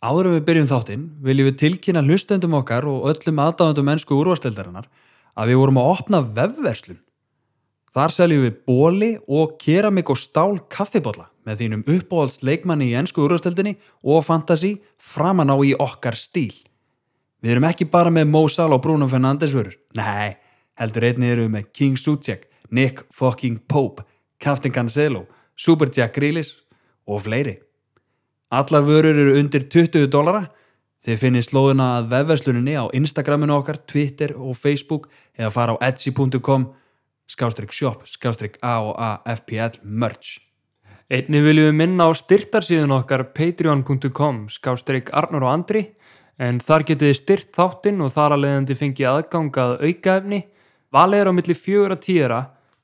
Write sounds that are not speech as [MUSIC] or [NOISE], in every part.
Áður en við byrjum þáttinn viljum við tilkynna hlustendum okkar og öllum aðdáðandum mennsku úrvasteldarinnar að við vorum að opna vefverslun. Þar seljum við bóli og keramik og stál kaffibólla með þínum uppáhalds leikmanni í ennsku úrvasteldinni og fantasi framan á í okkar stíl. Við erum ekki bara með Mo Salah og Bruno Fernandes vörur. Nei, heldur einnig erum við með King Suchek, Nick fucking Pope, Captain Cancelo, Super Jack Grealish og fleiri. Allar vörur eru undir 20 dólara. Þið finnir slóðina að vefversluninni á Instagraminu okkar, Twitter og Facebook eða fara á etsy.com skástrík shop, skástrík a og a fpl merch. Einnig viljum við minna á styrtarsíðun okkar patreon.com skástrík Arnur og Andri en þar getið þið styrt þáttinn og þar að leiðandi fengið aðgang að aukaefni valið er á milli 4 að 10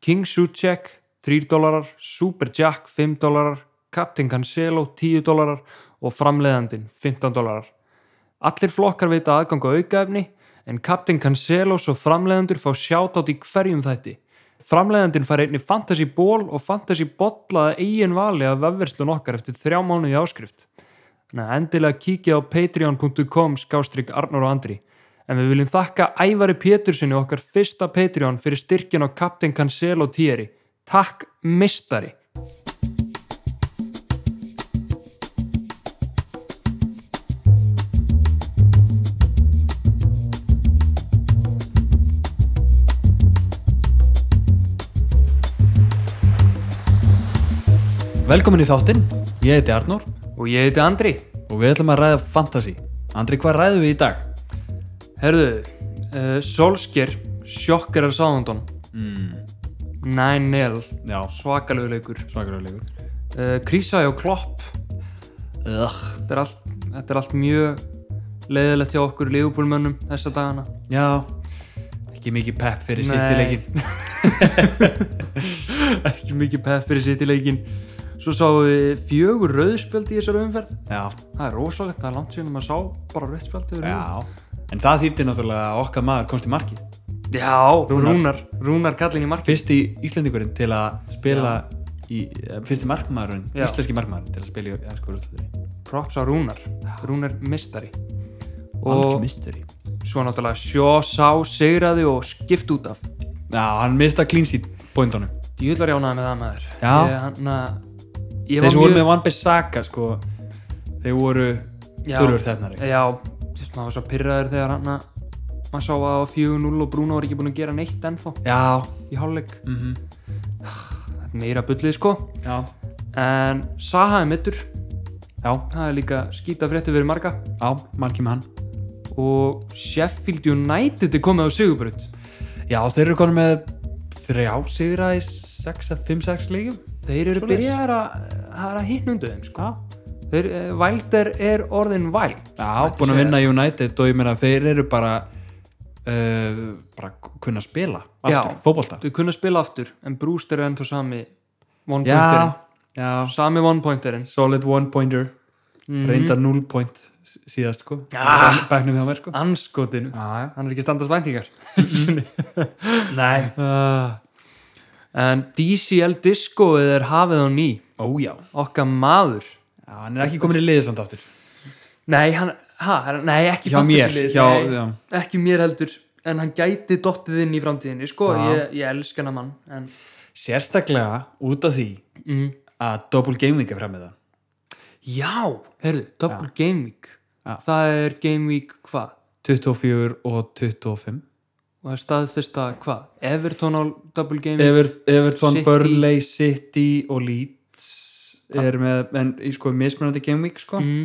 King Suchek 3 dólarar, Super Jack 5 dólarar Captain Cancelo 10 dólarar og framleiðandin 15 dólarar Allir flokkar veita aðgang á aukaefni en Captain Cancelo og framleiðandur fá sjátátt í hverjum þætti Framleiðandinn fær einni fantasy ból og fantasy bolla að eigin vali af vefverslun okkar eftir þrjá mánuði áskrift. Þannig að endilega kíkja á patreon.com skástrík Arnur og Andri. En við viljum þakka Ævari Péturssoni okkar fyrsta Patreon fyrir styrkin á Captain Cancelo Tieri. Takk mistari! Velkomin í þáttinn, ég heiti Arnór Og ég heiti Andri. og við ætlum að ræða fantasy. Andri, hvað ræðum við í dag? Herðu, uh, Solskjær, sjokkerar sáðandón. Mm. 9-0, Já, svakalegu leikur. svakarlegur. Uh, Krísaði og Klopp, Ugh. þetta er allt, þetta er allt mjög leiðilegt hjá okkur lífbúlmönnum þessa dagana Já, ekki mikið pepp fyrir Nei. sittilegin. [LAUGHS] ekki mikið pepp fyrir sittileikin svo sáum við fjögur rauðspjöld í þessari umferð [LAUGHS] Já, það er rosalegt, það er langt síðan að maður sá bara rauðspjöld yfir rauð. já. En það þýtti náttúrulega að okkar maður komst í markið. já, Rúnar. Rúnar Rúnar, kallin í marki Fyrsti Íslendingurinn til að spila í, eh, fyrsti markmaðurinn, Já. íslenski markmaðurinn til að spila í ennsku úrvalsdeildinni. props á Rúnar, Rúnar mistari Algjör og mystery. svo náttúrulega sjó, sá, sigraði og skipt út af Já, hann mista clean sheet pointunum. djúðlar jánaði með það maður Já. ég, hann, að, ég Þeir var sem voru mjög- með Van Bissaka, sko, þeir voru Já. tölur þennari. Já, þú veist, maður var svo pyrraður þegar hann að maður sá að það var 4-0 og Bruno var ekki búin að gera neitt ennþá Já, í hálfleik. mm Mhm. Þetta er meira bullið sko. já, En Saha er mittur, já, það er líka skýta frétti verið marga já, markið með hann. og Sheffield United er komið á Sigurbrut. Já, þeir eru konum með þrjá sigra í 6 að 5-6 leikum. Þeir eru Svoleiðis. byrjaðar að, það er að hinnundu þeim sko. Þeir, eh, Wilder er orðin væld. Já, búin að vinna United og ég meina þeir eru bara uh, bara kunna að spila aftur, Já. fótbolta Þau kunna spila aftur en Brewster er ennþá sami one-pointerinn. Já, já, Sami one-pointerinn. solid one pointer reyndar null point sí- síðast sko Ah. bæknum hjá mér sko Anskotinu. Já, Hann er ekki að standast [LAUGHS] væntingar. nei Uh, en DCL Discoið er hafið á ný Ó já, okkar maður já hann er ekki komin í liðisand aftur nei, hann, ha, hann- nei ekki Hjá mér, fantasy-liðið, hjá- nei, já. ekki mér heldur en hann gæti dottið inn í framtíðinni sko, Já. ég, ég elsk hann að mann en, Sérstaklega út af því mm, að double gaming er fram með það já, heyrðu, double game week Já. það er game week hvað 24 og 25 og það er staðfesta hvað, Everton á double game week Ever, Everton, Mm. City. Ah. Burnley, City og Leeds er með, en í sko mismunandi game week sko mm,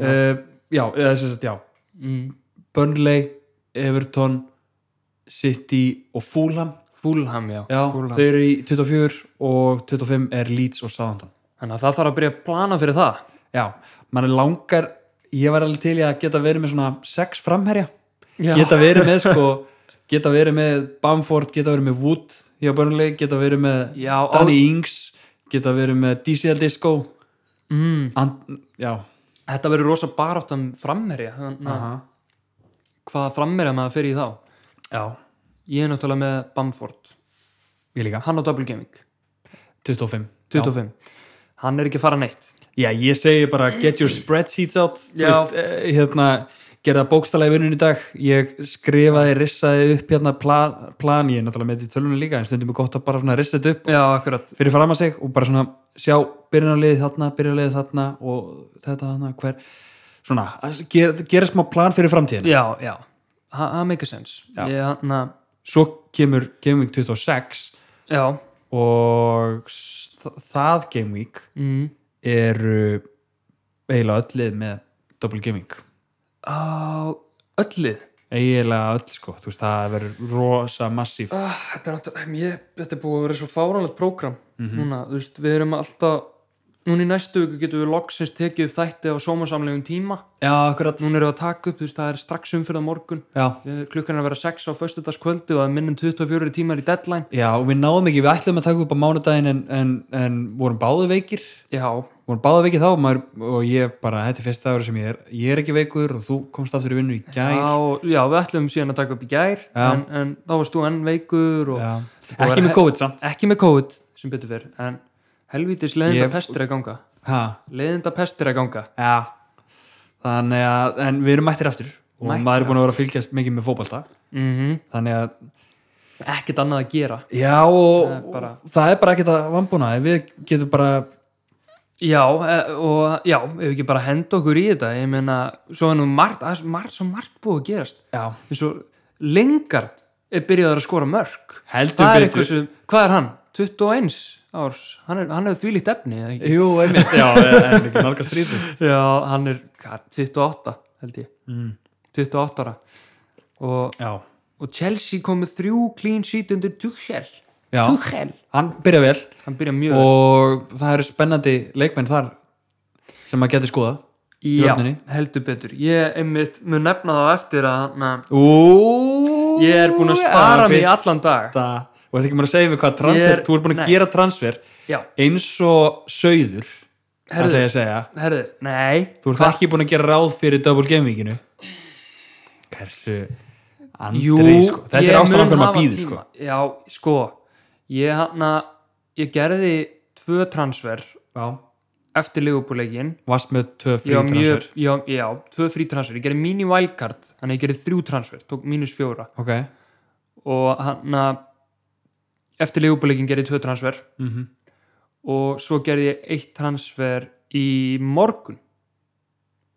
uh, já, eða sem sagt, já mm, Burnley, Everton City og Fulham Fulham já, já, Fulham. þau eru í 24 og 25 er Leeds og Southampton þannig að það þarf að byrja að plana fyrir það já, mann langar ég var alveg til í að geta verið með svona sex framherja, já, geta verið með sko, [LAUGHS] geta verið með Bamford, geta verið með Wood hjá Burnley, geta verið með já á- Danny Ings, geta verið með DCL Disco mm, And, já, Þetta verður rosa barátt um frammerja þannig að aha, hvaða frammerja maður fyrir í þá já Ég er náttúrulega með Bamford ég líka, Hann á Double Gaming, 25 Já. 25 Hann er ekki að fara neitt Já, ég segi bara get your spreadsheets out þú Já. veist, eh, hérna, gerða bókstælega í vinnun í dag ég skrifaði, rissaði upp hérna plan, plan ég er náttúrulega með þetta í tölunum líka en stundum er gott að bara svona rissa þetta upp Já, akkurat. fyrir fram að sig og bara svona sjá byrjunarliðið þarna, byrjunarliðið þarna og þetta þarna, hver svona, að gera, gera smá plan fyrir framtíðina Já, já. Ha- Það make a sense. Já. Ég hann að, svo kemur Game Week 26 já. og s- þ- það Game Week Mm. eru eiginlega öll lið með double Game Week Á, öllið. eiginlega öll sko, þú veist, það verður rosa massíf Ah, þetta, er alltaf, ég, þetta er búið að vera svo fáránlegt prógram Mhm. núna, þú veist, við erum alltaf núna í næstu viku getum við loksins tekið upp þætti á sómasamlegum tíma Já, akkurat núna erum við að taka upp, þú veist, það er strax umfyrða morgun Já, Eh, klukkan er að vera 6 á föstudagskvöldi og það er minnum 24 tímar í deadline já og við náðum ekki, við ætlum að taka upp á mánudaginn en, en, en vorum báðu veikir já, vorum báðu veikir þá og maður, og ég bara, þetta er fyrsta ára sem ég er ég er ekki veikur og þú komst aftur í vinnu í gær já, já, við ætlum síðan að taka upp í gær Já. en, en þá varst þú enn veikur og Já. búið að ekki vera- með COVID samt ekki með COVID sem betur fyrr en helvítis leðinda Ég- pestir að ganga ha, leðinda pestir að ganga já. þannig að, en við erum mættir aftur og Mættir maður er búin að vera að fylgjast mikið með fótbalta mm þannig að, ekkert annað að gera já og Það er bara- og það er bara ekkert að vambúna við getum bara, Já, eh, og já, ef við ekki bara henda okkur í þetta, ég meina, svo er nú margt, að- margt, svo margt búið að gerast. já, Eins og Lingard er byrjaður að skora mörg. Heldur það er betur. eitthvað sem, hvað er hann? 21 árs, hann er, hann er þvílíkt efni, [LAUGHS] eða ekki? jú, einmitt já, en ekki nálgast rítið Já, hann er, hvað, 28 held ég, Mm. 28 ára. Og, Já, og Chelsea kom með þrjú clean sheet undir Tuchel. já. Tuchel. hann byrja vel Hann byrja mjög. og það eru spennandi leikmenn þar sem maður getur skoða í já, vörninni. heldur betur. Ég einmitt mun nefna þá eftir að, na, Ú, Ég er búinn að spara mig í allan dag og þetta ekki mér að segja mig hvað transfer, Ég er- þú ert búin að nei. gera transfer Já, eins og sögður Herðu. ætla ég að segja, herðu, nei þú ert ekki búin að gera ráð fyrir double gaminginu hversu Jú, andri sko. þetta ég er ástæðan mun okkur maður hafa býður tíma. sko. Já, sko Ég hann ég gerði tvö transfer já, eftir leigubúleikin varst með tvö Já, frí mjög, transfer já, já, tvö frí transfer Ég gerði mini wildcard, þannig ég gerði þrjú transfer tók mínus fjóra ok, og hann eftir leigubúleikin gerði ég tvö transfer mhm og svo gerði ég eitt transfer í morgun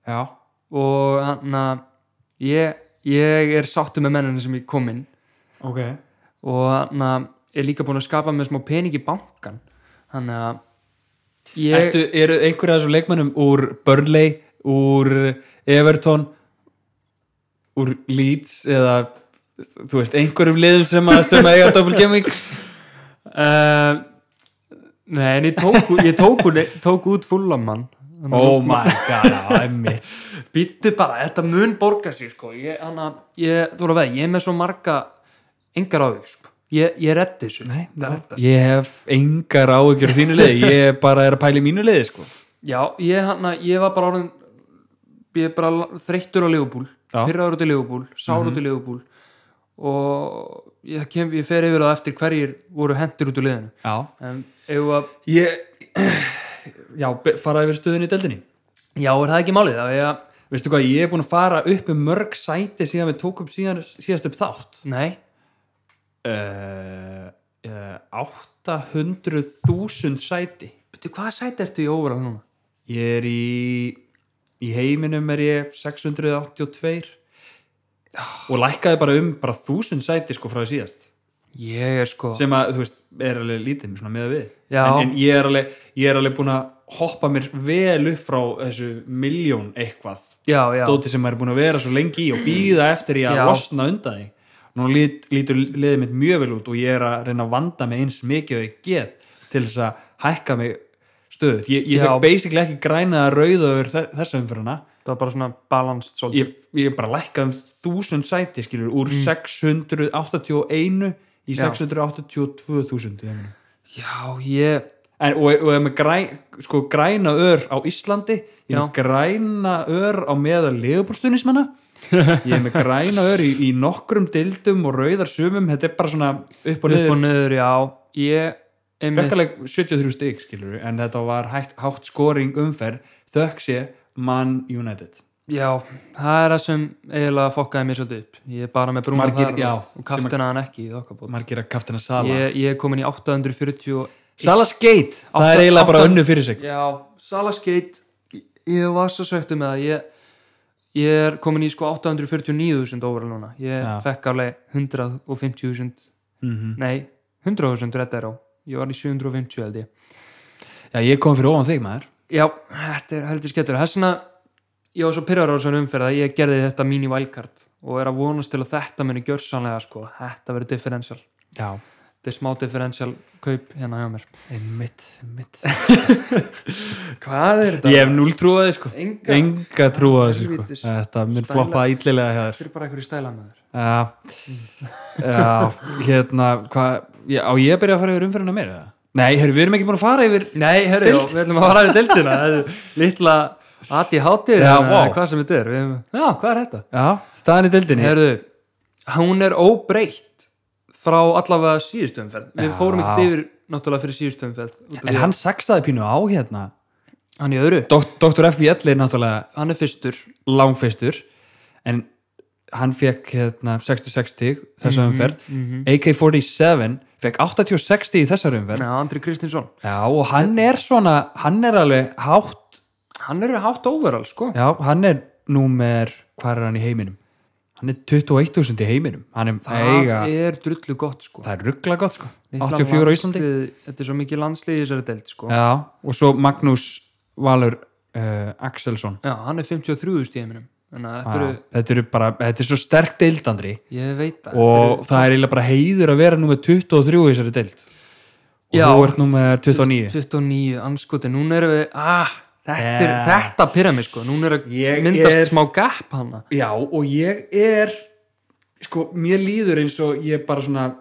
já, og hann ég, ég er sáttu með mennina sem ég kom inn ok og hann er líka búin að skapa með smá pening í bankan þannig að ég, Ertu, eru einhverja af þessum leikmennum úr Burnley, úr Everton úr Leeds eða þú veist, einhverjum liðum sem, að, sem eiga double [LAUGHS] gaming uh, nei en ég tók, ú- ég tók, út, tók út fullamann Oh my god, emmitt býttu bara, þetta mun borga sig sko. ég, hana, ég, þú voru að veða, ég er með svo marga engar á því sko. ég, ég reddi þessu Nei, Það reddast. Ég hef engar áhyggjur af þínu liði, ég bara er að pæla í mínu liði sko. Já, ég, hana, ég var bara orðin ég er bara la- þreyttur á legubúl Já. Mhm. pyrraður út í legubúl, sár út í legubúl og ég, kem, ég fer yfir það eftir hverjir voru hendur út úr liðinu Já en ef að, Ég, [CLEARS THROAT] já, be- fara yfir stöðun í deldinni já er það ekki málið að ég, Veistu hvað, ég er búin að fara upp um mörg sæti síðan við tókum síðan, síðast upp þátt nei, uh, 800.000 sæti betur hvað sæti ertu í óvara núna? ég er í í heiminum er ég 682 og lækkaði bara um bara 1000 sæti sko frá því síðast Ég er sko, sem að, þú veist, er alveg lítið svona með við, Já. en, en ég er alveg ég er alveg búin að hoppa mér vel upp frá þessu miljón eitthvað já, já dóti sem maður er búin að vera svo lengi í og býða eftir í að Já. losna undan því nú lít, lítur liðið mitt mjög vel út og ég er að reyna að vanda mig eins mikið og ég get til þess að hækka mig stöðut, ég, ég Já. fekk basically ekki græna að rauða yfir þe- þessa umfyruna það var bara svona balanced svolítið ég, ég bara lækkaði um þúsund sæti skilur úr 681 í Mm. Já. 682.000 í heiminum. Já, ég, en, og, og ef með græ, sko, græna ör á Íslandi ég er Já. með græna ör á meðal legubúrstunismanna ég er með græna ör í, í nokkrum dildum og rauðar sumum þetta er bara svona upp og upp og niður niður, já ég einmitt, Fekkaleg 73 stig, skilur en þetta var hægt, hátt skoring umferð þökk sé Man United. já, það er það sem eiginlega fokkaði mér svolítið upp ég er bara með brúna Margir- þar og, já, og kaftina hann ekki í okkabóð Margir að kaftina Sala. ég, ég er komin í 840 og, Sala skeitt! Það Átta- er eiginlega bara átta- önnu fyrir sig. já, salaskeit ég var svo söktu með það ég, ég er komin í sko 849.000 óvara núna, ég Já. fekk alveg 150.000 Mm nei, 100.000 reddar á ég var í 750 held ég Já, ég kom fyrir ofan þig, maður. Já, þetta er heldur skellur. Þess vegna, ég var svo pyrrar á svona umferð að ég gerði þetta mini wildcard og er að vonast til að þetta muni gjörsanlega sko. Þetta verður differential. Já. Þetta er smá differential kaup hérna hjá mér. Einmitt, einmitt. [LAUGHS] Hvað er Ég hef núl trúaði, sko. Enga. Enga trúaði, sko. Helvítis. Þetta mun Stæla. floppa ítlilega hjá þér. Þetta er bara einhverju stæla með þér. Já, já, hérna, hvað, já, á ég að byrja að fara yfir umferðina mér, eða? Nei, heyrðu, við erum ekki búin að fara yfir, Nei, herri, já, við ætlum að fara við deildina. Það er litla aði hátíð, Já, wow. vá. hvað sem þetta er. Við, hefum- já, hvað er þetta? já, staðan í deildinni. Herðu, hún er óbreytt frá allavega síðustu umferð. Við Já. fórum ekkert yfir náttúrulega fyrir síðustu umferð. út af því en að- hann saxaði pínu á hérna. hann í öðru. Dok Dr. FBL er náttúrulega hann er fyrstur langfeistur, en hann fekk, hérna, 66 stig Mhm, þessa umferð. AK-47 fekk 86 stig í þessari umferð. Já, Andri Kristinsson Já, og hann er svona, hann er alveg hátt, Hann er hátt overall sko já, hann er númer, hvað er hann í heiminum? Hann er 21.000 í heiminum. Hann er eiga... Það er drullu gott sko Það er ruggla gott sko Litla 84 á Íslandi landslið- Þetta er svo mikið landslið í þessari deild sko Já, Já, og svo Magnús Valur uh, Axelsson hann er 53 stíðminum Þannig að þetta eru, Já, Þetta eru bara, þetta er svo sterk deild Andri ég veit það og það er eiginlega bara heiður að vera númer 23 í þessari deild og Já. þú ert númer 29 29, anskoti, núna erum við ah, Þetta, er, Yeah. þetta pyramid sko Núna er að Ég myndast er- smá gap hana Já, og ég er sko, mér líður eins og ég bara svona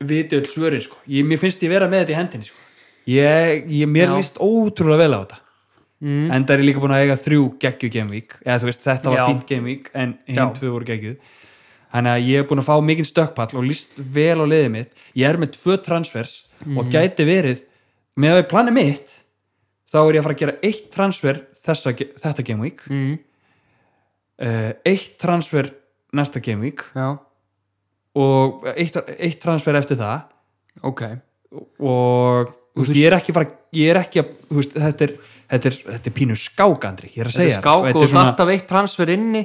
viti öll svörin sko, ég, mér finnst ég vera með þetta í hendinni sko, ég, ég mér Já. líst ótrúlega vel á þetta Mm. en það er ég líka búin að eiga þrjú geggju Game Week eða þú veist, þetta var Já. fínt Game Week en Já. hinn tvö voru geggjuð þannig að ég er búin að fá mikinn stökkpall og líst vel á liðið mitt ég er með tvö transfers og gæti verið með að við planið mitt þá er ég að fara að gera eitt transfer þessa, ge- þetta Game Week mm, uh, eitt transfer næsta Game Week Já, og eh, eitt, eitt transfer eftir það ok og þú veist, ég er ekki fara ég er ekki að, þú veist, þetta er þetta er, þetta er pínu skákandri, ég er að Þetta er segja sko, skák og þetta er Mhm. svona... alltaf eitt transfer inni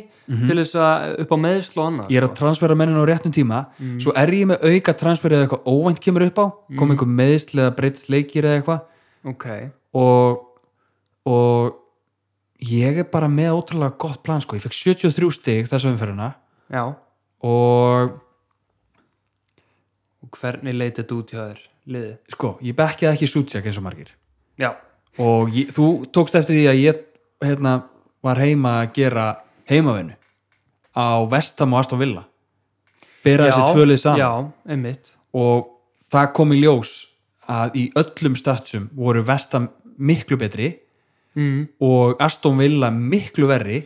til þess að upp á meðsl og annað ég er að transfera mennin á réttum tíma Mm. svo er ég með auka transfer eða eitthvað óvænt kemur upp á, kom einhver meðsl eða breytist leikir eða eitthvað sko. Ok, og, og ég er bara með ótrúlega gott plan sko, ég fekk 73 stig þessu umferðina já og Og hvernig leit þetta út hjá þér, liðið? sko, ég bekkjaði ekki sútsjak eins og margir Já, og ég, þú tókst eftir því að ég hérna, var heima að gera heimavinnu á Vestam og Aston Villa bera já, þessi tvölið saman já, einmitt og það kom í ljós að í öllum statsum voru Vestam miklu betri mm. og Aston Villa miklu verri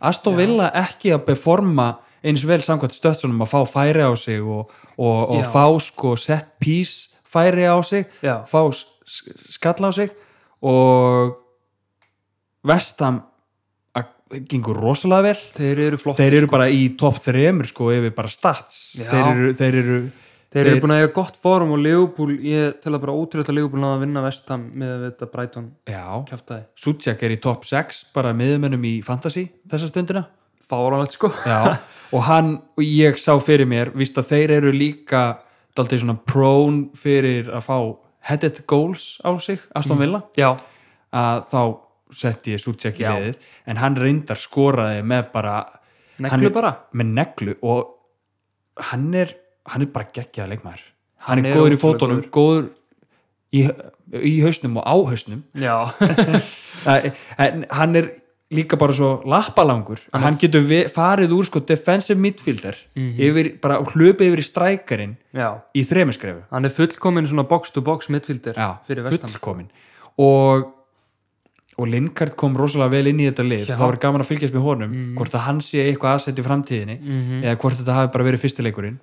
Aston Villa ekki að performa eins vel samkvæmt stötsunum að fá færi á sig og, og, og Já. fá sko set piece færi á sig Já. fá s- s- skalla á sig og vestam að gengur rosalega vel Þeir eru flott þeir eru bara í topp þremur sko yfir bara stats Sko. Já. þeir eru, þeir eru Þeir eru búin að eiga gott fórum og Leopold Ég tel að bara ótrúlega Leopold náða að vinna vestam með að þetta Brighton já, kjaftaði Suchak er í topp 6 bara miðumennum í fantasy þessa stundina Fáránlegt sko Já, [LAUGHS] og hann og ég sá fyrir mér, víst að þeir eru líka daldið svona prone fyrir að fá headed goals á sig, Aston Villa Já, að þá setti ég Suchek í Já. liðið en hann reyndar skoraði með bara Neglu hann- bara. með neglu og hann er, hann er bara geggjaða leikmaður hann, Hann er, er góður í ótrúlega fótunum, góður í, í hausnum og á hausnum já [LAUGHS] Æ, en hann er líka bara svo lappalangur að hann getur vi, farið úr sko defensive midfielder Mhm. yfir, bara hlupið yfir í strækarinn Já í þremuskrefu Hann er fullkomin svona box to box midfielder Já, fyrir vestam fullkomin og, og Lingard kom rosalega vel inn í þetta lið Já. Mhm. það var gaman að fylgjast með honum hvort að hann sé eitthvað aðsett í framtíðinni eða hvort þetta hafi bara verið fyrstileikurinn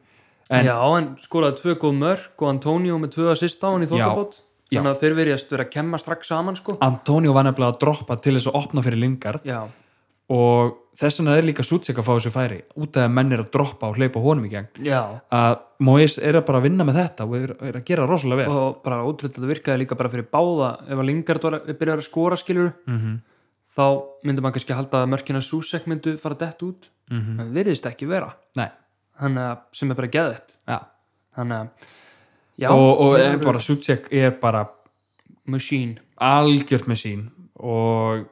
En- Já, en skoraði tvö góð mörk og Antonio með tvö assist á hann í Já, þokkabót já. þannig að þeir verjast verið að kemma strax saman sko. Antonio var nefnilega að droppa til þess að opna fyrir Lingard Já, og þess vegna er líka Sutsik að fá þessu færi út af að menn er að droppa og hleypa honum í gang já að Mois er að bara vinna með þetta og er, er að gera rosalega vel og bara ótrúlega þetta virkaði líka bara fyrir báða ef að Lingard var að byrja að skora skilur mm -hmm. þá myndi maður kannski halda að mörkina Susek myndu fara dett út Mm en virðist ekki vera Nei, hann, eh, sem er bara geðett ja. hann, eh, já, og, og þeir er eru bara Sutsik er bara machine algjört með sín og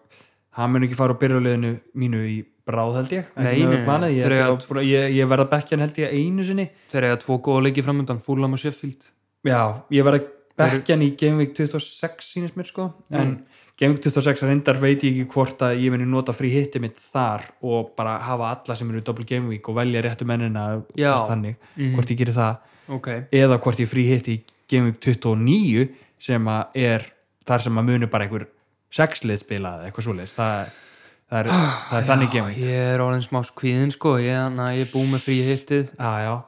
hann mun ekki fara á byrjuleginu mínu í bráð held ég Nei, Ekki með nei, nei. planið. ég, Þeir ég, eiga- ég, ég, ég verða bekkjan held ég einu sinni þeir eiga tvo góða leiki framöndan Fulham og Sheffield já, ég verða Þeir- Mm. bekkjan í Gameweek 26 sínist mér sko en Gameweek 26 reyndar veit ég ekki hvort að ég muni nota frí hitti mitt þar og bara hafa alla sem eru í double Gameweek og velja réttu mennina og Já. allt þannig, Mhm. hvort ég gerir það ok, eða hvort ég frí hitti í Gameweek 29 sem að er þar sem að muni bara einhver sexlið spila eða eitthvað svoleiðis það, það er, það er þannig Gameweek ég er orðin smá skvíðin sko ég, na, ég er búið með frí hittið Já, já,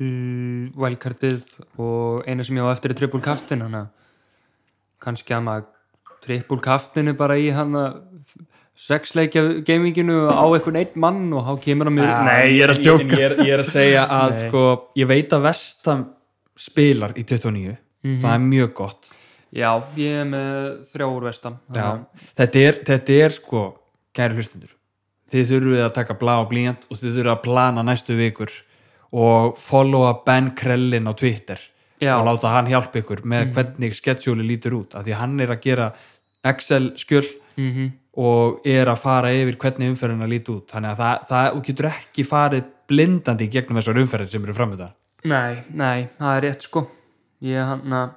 uh, wildcardið og eina sem ég á eftir er triple captain hann að kannski að maður triple captain er bara í hann að sexleikja gaminginu á einhvern einn mann og þá kemur hann mér En en Ah, Ég, er- ég er að segja [LAUGHS] að sko, ég veit að Vestam spilar í 29 það er mjög gott já, ég er með þrjá úr vestam Þannig þetta er, þetta er sko, kæri hlustundur þið þurfið að taka blá og blíjant og þið þurfið að plana næstu vikur og followa Ben Krellin á Twitter Já. og Mhm. láta hann hjálpa ykkur með hvernig sketsjóli lítur út af því að hann er að gera Excel skjöl Mhm. og er að fara yfir hvernig umferðina líti út þannig að það, það þú getur ekki farið blindandi í gegnum þessar umferðin sem eru framönda að- nei, nei, það er rétt sko ég er hann að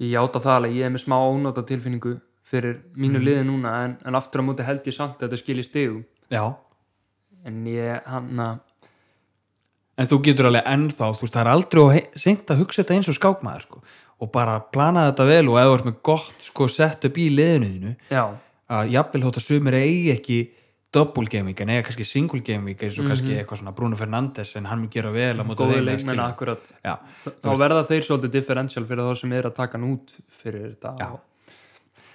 ég játa það alveg, ég er með smá ónóta tilfinningu fyrir mínu liði núna en, en aftur á móti held ég samt að þetta skilir stigum Já, en ég hann að en þú getur alveg ennþá þú veist, það er aldrei seint að hugsa þetta eins og skákmaður sko. og bara plana þetta vel og ef þú ert með gott sko, sett upp í liðinu þínu já, að jafnvel þótt að sumir eigi ekki double game week en eiga kannski single game week eins og kannski eitthvað svona Bruno Fernandes en hann mun gera vel að móta góðu þeim, eða leikmenn skilja. akkurat Já, þá verða þeir svolítið differential fyrir þá sem er að taka hann út fyrir þetta Já.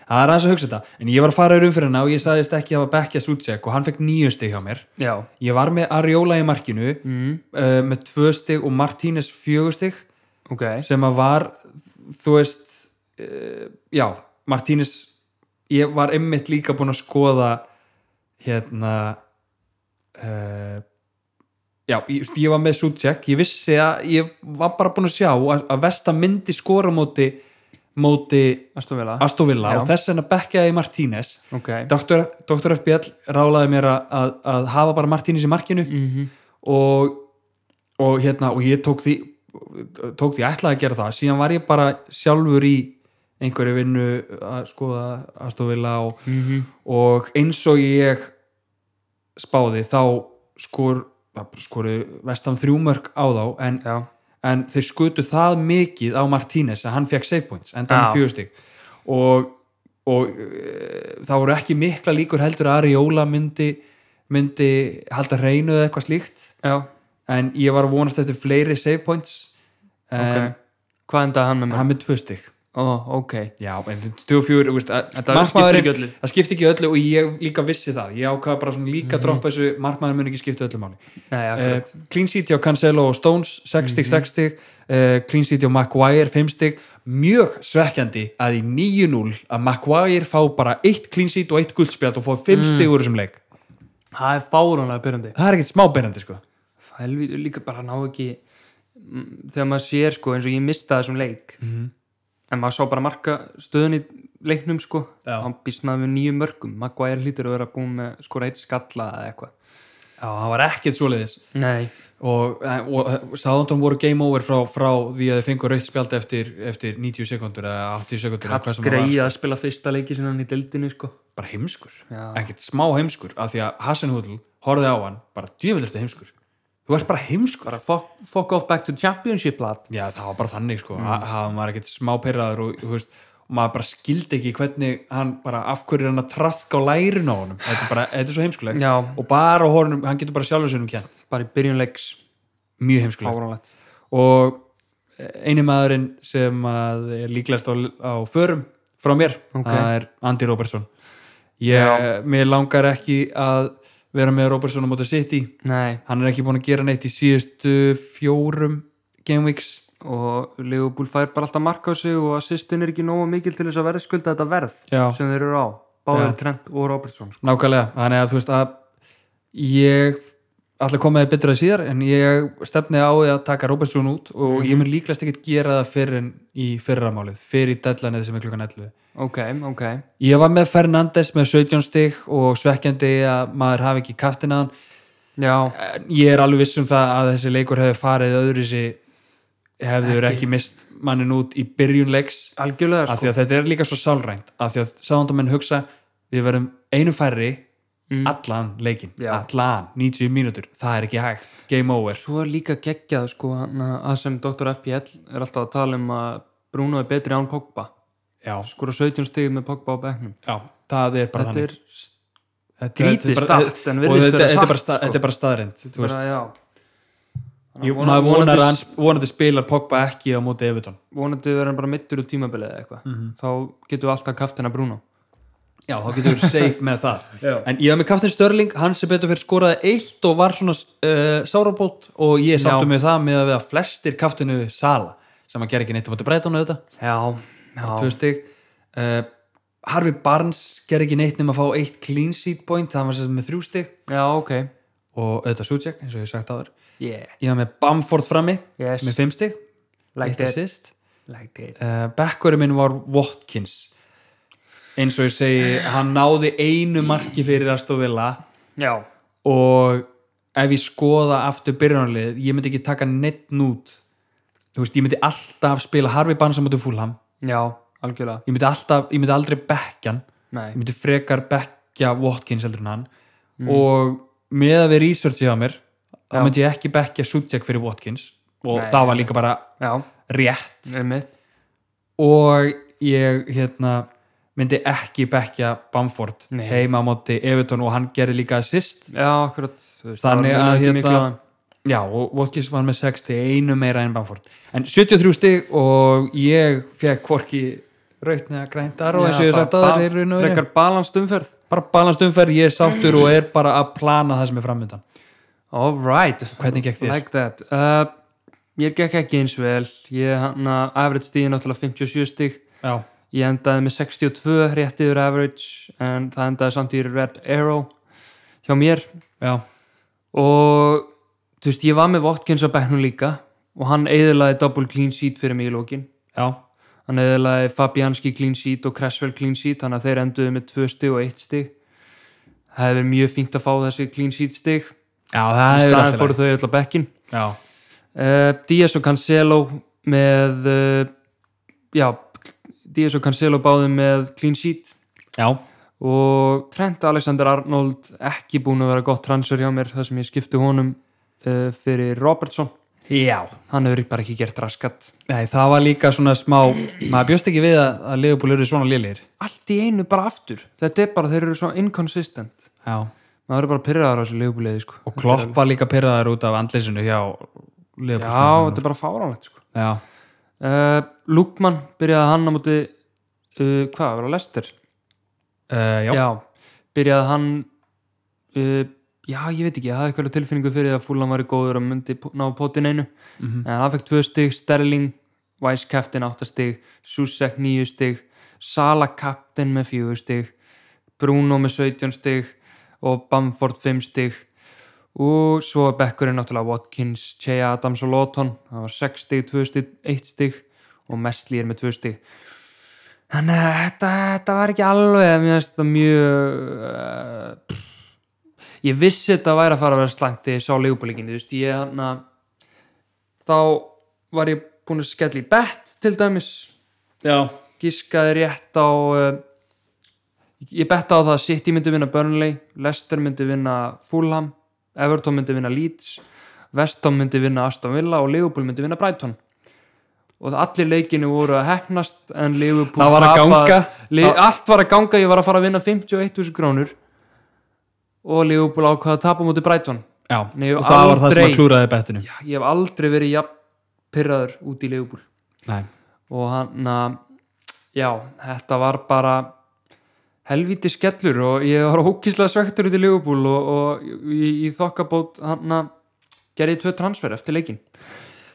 það er aðeins að hugsa þetta en ég var að fara yfir umfyrirna og ég sagðist ekki að bekkja Sucek og hann fekk nýju stig hjá mér já, ég var með Ariola í markinu uh, með tvö stig og Martínez fjögur stig ok sem að var þú veist uh, já, Martínez ég var einmitt líka búinn að skoða hérna uh, já, ég, veist, ég var með Sucek ég vissi að, ég var bara búinn að sjá að, að Vesta myndi skora móti móti Astovila, Astovilla Já. og þess vegna bekkjaði Martínez ok Dr. Dr. FBL rálaði mér að, að, að hafa bara Martínez í markinu Mhm. og, og hérna og ég tók því tók því ætlaði að gera það síðan var ég bara sjálfur í einhverju vinnu að skoða Astovilla og, Mhm. og eins og ég spáði þá skor skoru vestan þrjúmörk á þá en já, en þeir skutu það mikið á Martínez að hann fekk save points en það Já. með fjögustig og, og e, það voru ekki mikla líkur heldur að Ariola myndi, myndi halda hreinu eða eitthvað slíkt já, en ég var að vonast eftir fleiri save points ok en hvað endaði hann með mér? hann með tvö stig ó, ok já, en 24 veist, að- Þetta skiptir ekki öllu. það skipti ekki öllu og ég líka vissi það ég ákvaða bara svona Mhm. líka droppa þessu markmaður mun ekki skipta öllu máli Nei, Eh, akkurat, Clean City á Cancelo og Stones 6 stig, 6 stig eh, Clean City á Maguire 5 stig mjög svekkjandi að í 9-0 að Maguire fá bara eitt Clean City og eitt guldspjart og fá 5 stig úr þessum leik það er fáránlega byrjandi það er ekkert smáberjandi sko helvið líka bara ná ekki mm, þegar maður sér sko eins og ég mistaði þessum leik en maður sá bara marka stöðun í leiknum sko Já. hann býstnaði með nýju mörgum Maguire hlýtur að vera búin með skora eitt skalla eða eitthvað já, það var ekkert svoleiðis nei, og, eh, og Sáðantón voru game over frá, frá því að þið fengur rautt spjald eftir, eftir 90 sekundur eða 80 sekundur eða hvað sem það var, greið að spila fyrsta leiki sinna hann í deildinni sko sko. bara heimskur, Já. ekkert smá heimskur af því að Hassenhudl horfði á hann bara djöfildur þetta heimskur þú ert bara heimskur bara fuck, fuck off back to championship lad Já, það var bara þannig sko, mm. hann var ekkert smá pyrraður og, þú veist, og maður bara skildi ekki hvernig hann bara, af hverju er hann að traðka á lærin á honum, þetta er bara, þetta er svo heimskulegt já, og bara á honum, hann getur bara sjálfur sínum kjent bara í byrjunleiks um mjög heimskulegt fáránlegt. og eh, eini maðurinn sem að er líklegast á, á förum frá mér, Ok. það er Andy Robertson ég, Já. mér langar ekki að vera með Robertson á móti City Nei, hann er ekki búin að gera neitt í síðustu fjórum gameweeks og Leopold fær bara alltaf marka á sig og assistin er ekki nógu mikil til þess að verðskulda þetta verð Já. sem þeir eru á, báðir Já. Trent og Robertson sko. nákvæmlega, þannig að þú veist að ég ætla að koma þið betur að síðar en ég stefni á því að taka Robertson út og ég mun líklegast ekkert gera það fyrir en í fyrramálið, fyrir í deadlineið sem er klukkan 11 Ok, ok, Ég var með Fernandes með 17 stig og svekkjandi að maður hafi ekki kaftin að hann. já En Ég er alveg viss um það að þessi leikur hefði farið öðru sér hefður ekki. mist mannin út í byrjun leiks algjörlega af sko því að þetta er líka svo sálrænt af því að sándamenn hugsa við verðum einu færri allan leikin, Mm. Já. allan 90 mínútur, það er ekki hægt, game over Svo er líka geggjað sko hann að að sem Dr. FPL er alltaf að tala um að Bruno er betri án Pogba Já, skora 17 stig með Pogba á bekknum já það er bara Þetta þannig er Þetta skrítið þetta er bara- statt en og virðist þetta þetta vera er satt, bara sta- sko. þetta er bara staðrind Þetta er bara, já Þannig að Jú, vona- maður vonar vonandi- að hann sp- vonandi spilar Pogba ekki á móti Everton vonandi verður hann bara mittur úr tímabilið eða eitthvað Mhm. þá getum við alltaf kaftina Bruno Já, þá getur við safe með það [LAUGHS] Já. En ég hef með Kaftin Störling, hann sem betur fyrir skoraði eitt og var svona uh, sárabót og ég sáttu Já. með það með að við að flestir Kaftinu Sala sem að gera ekki neitt um að breyta hana auðvitað já, já, tvö stig uh, Harfi Barnes gera ekki neitt nema að fá eitt clean seat point, það var sem sagt með þrjú stig já ok og auðvitað Sucek, eins og ég hef sagt áður yeah, Ég hef með Bamford frammi Yes. með fimm stig, eitt like that, assist like that uh, bekkurinn minn var Watkins eins og ég segi hann náði einu marki fyrir Aston Villa já, og ef ég skoða aftur byrjunarlið, ég myndi ekki taka neitt nút þú veist, ég myndi alltaf spila Harfi Barnes á mútu fúlham já, algjörlega ég myndi, alltaf, ég myndi aldrei bekkjan nei, ég myndi frekar bekkja Watkins heldur en hann og með að við researchi á mér þá Mm. Já. myndi ég ekki bekkja Subject fyrir Watkins og Nei. það var líka bara já, rétt er mitt og ég hérna myndi ekki bekja Bamford Nei. heima á móti Everton og hann gerði líka assist já, akkurat þú veist, Þannig það var að ekki hérna- miklu að- já og Watkins var með 6 til einu meira en Bamford en 73 stig og ég fekk hvorki raut neða grænt aró eins og Já, ég hef sagt að bara- það er raun og veru. frekar balans umferð bara balast umferð, ég er sáttur og er bara að plana það sem er framöndan alright, Hvernig gekk þér? like that uh, ég gekk ekki eins vel ég hann að average stíði náttúrulega 57 stíg já, Ég endaði með 62 rétt yfir average en það endaði samt í red arrow hjá mér já, og þú veist, ég var með Watkins á bekknum líka og hann eðilaði double clean sheet fyrir mig í lókin já, hann eðilaði Fabianski clean sheet og Cresswell clean sheet þannig að þeir enduðu með 2 stig og 1 stig það hefur mjög fínt að fá þessi clean sheet stig já það er staðan alltaf fóru fór... þau öll á bekkin já, uh, Díaz og Cancelo með uh, já, Díaz og Cancelo báðu með clean sheet já, og Trent Alexander Arnold ekki búin að vera gott transfer hjá mér það sem ég skipti honum uh, fyrir Robertson já. hann hefur bara ekki gert raskat Nei, það var líka svona smá maður bjóst ekki við að, að Leopold eru svona lélir allt í einu bara aftur þetta er bara, þeir eru svo inconsistent já maður er bara pyrraðar á þessu leifbúliði sko. og Klopp var líka pyrraðar út af andlýsinu hjá já, Leopold þetta er bara fáránlegt sko. já, uh, Lukman byrjaði hann á móti uh, hvað, var að lestir? uh, já. já, byrjaði hann uh, já, ég veit ekki, ég hafði eitthvað tilfinningu fyrir að Fúlan væri góður og myndi p- ná pótin einu Mhm. en hann fekk tvö stig, Sterling Weiss Captain 8 stig Susek 9 stig, Sala Captain með 4 stig Bruno með 17 stig og Bamford 5 stig og svo er bekkurinn náttúrulega Watkins, Chea Adams og Lawton það var 6 stig, 2 stig, 1 stig og Mesli er með 2 stig Þannig að þetta, þetta var ekki alveg mér finnst þetta mjög uh, pff. ég vissi þetta væri að fara að vera slangt þegar ég sá leifbúleikinu, þú veist, ég hann að þá var ég búin að skella í bett til dæmis já, gískaði rétt á uh, ég betta á það að City myndi vinna Burnley, Leicester myndi vinna Fulham, Everton myndi vinna Leeds West Ham myndi vinna Aston Villa og Liverpool myndi vinna Brighton og allir leikinu voru að hefnast en Liverpool Það var að tapaði- ganga. Li- allt var að ganga, ég var að fara að vinna 51.000 krónur og Liverpool ákvaða að tapa múti Brighton Já, Nei, ég hef og það var það sem aldrei- að klúraði bettinu. Já, ég hef aldrei verið jafn pyrraður út í leifubúl Nei, og hann að já, þetta var bara helvíti skellur og ég var ókíslega svektur út í leifubúl og, og í, í þokkabót hann að gerði ég tvö transfer eftir leikin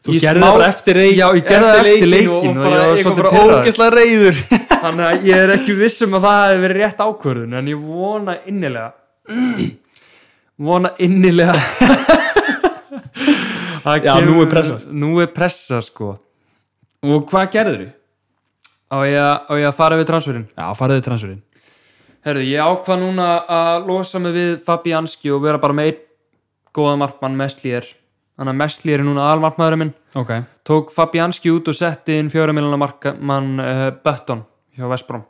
þú gerði það bara eftir reik, Já, ég gerði það eftir leikin og, bara, ég var ég kom svolítið bara pyrraður ógeðslega [LAUGHS] reyður. þannig að ég er ekki vissum að það hefði verið rétt ákvörðun en ég vona innilega vona innilega Að Já, nú er pressa. nú er pressa sko og hvað gerður þið? á ég, að- á ég að fara við transferinn Já, fariði transferinn. herru, ég ákvað núna að losa mig við Fabianski og vera bara með einn góða markmann Messlier þannig að Messlier er núna almarkmaðurinn minn Ok. tók Fabianski út og setti inn fjóra miljonar markmann uh, Bötton hjá Vestbrom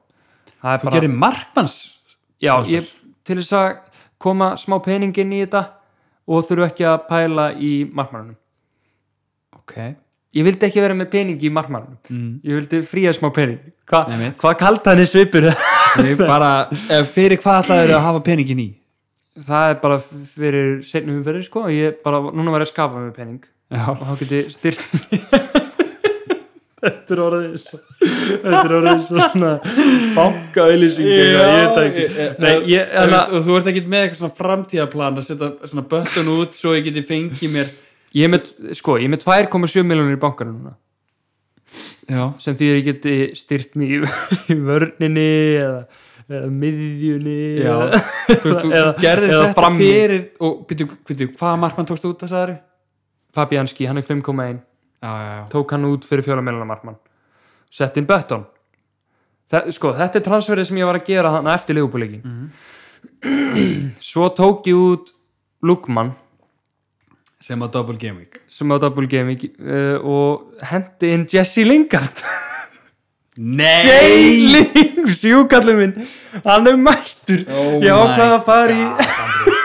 Það er Þú gerði markmanns? Já, Transfer. ég, til þess að koma smá peningin í þetta og þurfu ekki að pæla í markmannunum. Ok. Ég vildi ekki vera með pening í markmannunum. Mm. Ég vildi fría smá pening. Hva, Einmitt. hvað kallt hann er svipur? [LAUGHS] Ég bara, ef fyrir hvað ætlaður að hafa peningin í? Það er bara fyrir setnum umferðir sko. Ég bara, núna var ég að skapa með pening Já. og þá geti styrt [LAUGHS] Þetta er orðið svo Þetta er orðið svo svona bankaauðlýsing eitthvað, ég veit það ekki. Nei, ég, þú hana, veist, og þú ert ekkert með eitthvað svona framtíðaplan að setja svona böttun út svo ég geti fengið mér ég er með, sko, ég er með 2,7 miljonir í bankanum núna. já, sem því að ég geti styrt mig í, í vörninni eða, eða miðjunni já. eða, þú veist, þú, Eða- þú gerðir eða þetta frammi. fyrir og býtu, býtu, hvaða markmann tókstu út að sagðari? Fabianski, hann er 5,1 Já, já, já, tók hann út fyrir fjóra miljonar markmann sett inn Bötton Þa, sko, þetta er transferið sem ég var að gera hann eftir leifupúleikin Mhm. svo tók ég út Lukman sem að double game week sem á Double Gaming uh, og hendi inn Jesse [LAUGHS] Lingard Jay Nei! Ling, sjúkallin minn hann er mættur Oh ég my ákvaða að fara í [LAUGHS]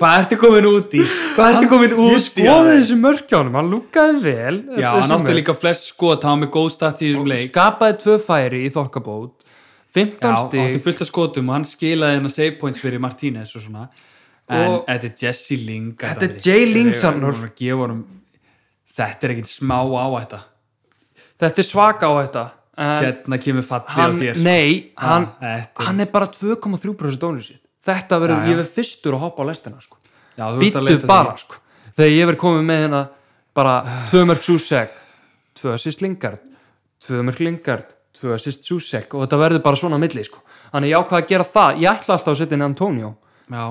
Hvað ertu komin út í? Hvað ertu komin út í? ég skoði þessi mörk hjá hann, hann lúkaði vel Já, Þetta er hann sem átti er. líka flest skot, hann var með góð start í þessum leik skapaði tvö færi í þokkabót 15 Já, stig átti fullt af skotum og hann skilaði hennar save points fyrir Martínez og svona en Og- þetta er Jesse Ling Þetta er Jay Ling, Við Sannur. erum að gefa honum- Þetta er ekkert smá áhætta þetta er svaka á þetta en Hérna kemur fallið á hann, þér nei, Ah, hann, þetta er- hann er bara 2,3% dónið sitt þetta verður, Já, já. ég verð fyrstur að hoppa á lestina sko. Já, þú ert að býttu leita bara þér. sko. þegar ég verð komið með hérna bara 2 mörg Susek 2 assist Lingard 2 mörg Lingard 2 assist Susek og þetta verður bara svona á milli sko. þannig ég ákvað að gera það, ég ætla alltaf að setja inn Antonio Já,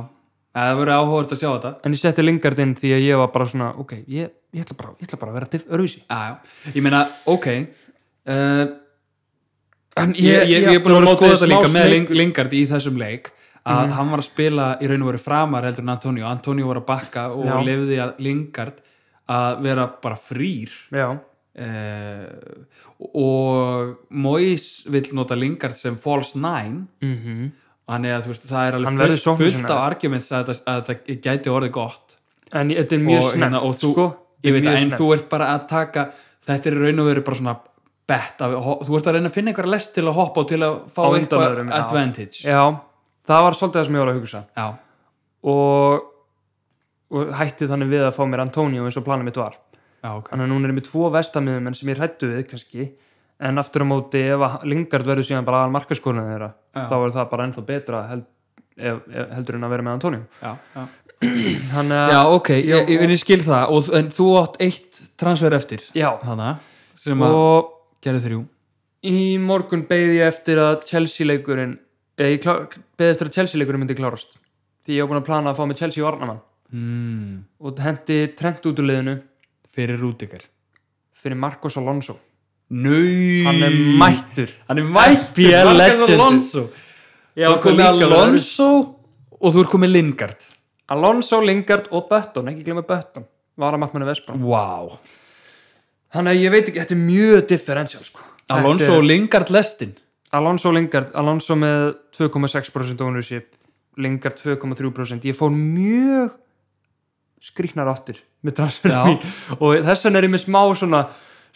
Eða það verður áhugavert að sjá þetta en ég setti Lingard inn því að ég var bara svona ok, ég, ég, ætla, bara, ég ætla bara að vera til öruvísi Já, já, ég meina, ok uh, en ég, ég, ég, er búin að vera að skoða þetta líka með Lingard Ling- Lingard í þessum leik að Mhm. hann var að spila í raun og veru framar heldur en Antonio, Antonio var að bakka og Já. lefði að Lingard að vera bara frýr já, uh, og Mois vill nota Lingard sem false nine mm og hann er að þú veist, það er Hann alveg verður fullt, fullt sóknarsinnaður. af arguments að þetta, að þetta gæti orðið gott en ég- þetta er mjög og, snemmt hérna, og þú, sko. ég veit Þetta er að mjög en snemmt. þú ert bara að taka þetta er í raun og veru bara svona bett af, ho- þú ert að reyna að finna einhverja lest til að hoppa og til að fá Á undan eitthvað öðrum, já. advantage já, það var svolítið það sem ég var að hugsa Já. og, og hætti þannig við að fá mér Antonio eins og planið mitt var Já, ok. þannig að núna er ég með tvo vestamiðum sem ég hrættu við kannski en aftur á móti ef að Lingard verður síðan bara aðal markaskólinu þeirra Já. þá er það bara ennþá betra held, ef, ef, heldur en að vera með Antonio Já, já. Hann, eh, já ok, ég, Já, ég, ég, ég skil það og, en þú átt eitt transfer eftir já. hana, sem að og gerðu þrjú í morgun beigði ég eftir að Chelsea leikurinn eða ég beigði eftir að Chelsea leikurinn myndi klárast því ég var búin að plana að fá með Chelsea varnamann mm, og hendi trent út úr liðinu fyrir Rúdikar fyrir Marcos Alonso Nau hann er mættur Hann er mættur FBL Marcus legend. Alonso Já, Þú er komið Alonso og þú er komið Lingard Alonso, Lingard og Bötton ekki glemma Bötton var að markmannu Vespan Wow þannig að ég veit ekki, þetta er mjög differential sko. Alonso og Lingard lestin Þetta er- Alonso, Lingard, Alonso með 2,6% ownership Lingard 2,3% ég fór mjög skrýknar áttir með Já. transferum mín. og þess vegna er ég með smá svona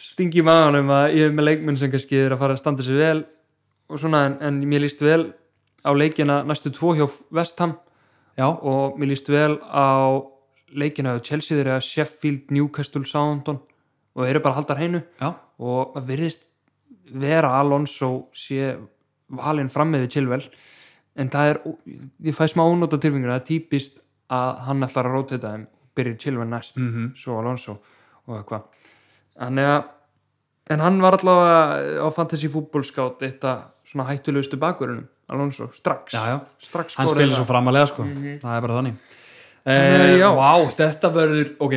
stingi í maðanum að ég er með leikmenn sem kannski er að fara að standa sig vel og svona en, en mér líst vel á leikina næstu tvo hjá Vestham Já, og mér líst vel á leikina á Chelsea þeirra Sheffield, Newcastle, Southampton og þeir eru bara að halda hreinu Já, og það virðist vera Alonso sé valinn frammið við Chilwell en það er, ég fæ smá ónóta tilfengur það er típist að hann ætlar að róta þeim og byrja Chilwell næst Mhm. svo Alonso og eitthvað þannig að en hann var allavega á fantasy fútbolskátt eitt að svona hættulegustu bakverunum Alonso, strax já, já. strax hann skoraði spilir svo það. framalega sko það er bara þannig Nei, Eh, já. Vá, þetta verður ok,